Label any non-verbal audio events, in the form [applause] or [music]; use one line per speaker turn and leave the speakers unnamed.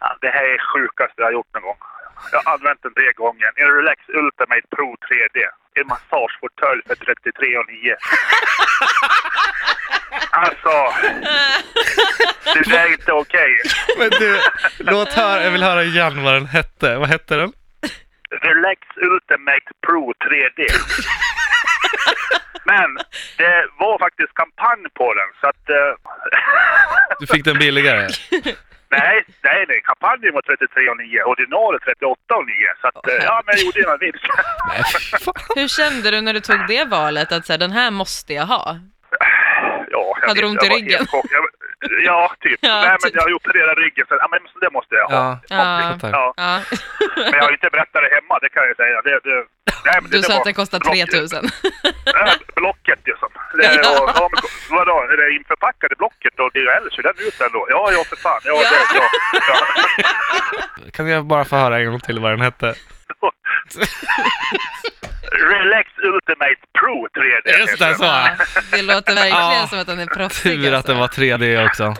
Ja, det här är sjukaste jag har gjort någon gång. Jag har använt den tre gånger. En Relax Ultimate Pro 3D. En massagefåtölj för 33 och 9. Alltså, det där är inte okej.
Men du, låt höra, jag vill höra igen vad den hette. Vad hette den?
Relax Ultimate Pro 3D. Men det var faktiskt kampanj på den, så att... eh, [laughs]
Du fick den billigare.
nej, nej, nej. Kampanjen var 33 och 9, ordinarie 38 och 9. Så att, eh, ja, men jag gjorde en vinst.
Nej, fy fan.
Hur kände du när du tog det valet, att så här, den här måste jag ha?
Ja, jag
Hade du
vet,
ont i
jag var
ryggen?
helt chockad. Jag, ja, typ.
Ja,
nej, men
typ.
jag opererade ryggen, så ja, men så det måste jag ha.
Ja,
Ja.
tack.
Ja,
ja.
men jag har inte berättat det hemma, det kan jag ju säga. Det, det, nej, men det,
Du
det
sa
var
att den kostar
blocket. [laughs]
3000.
Det här blocket liksom. Det,
[laughs]
är- och, ja, men, vadå, är det införpackade blocket och DHL? Ser den ut ändå? Ja, ja för fan. Ja, det, ja, ja.
Kan jag bara få höra en gång till vad den hette?
Relax Ultimate Pro 3D.
Just det, så.
Ja, det låter verkligen
Ja.
som att den är proffsig.
Tur att
alltså.
den var 3D också.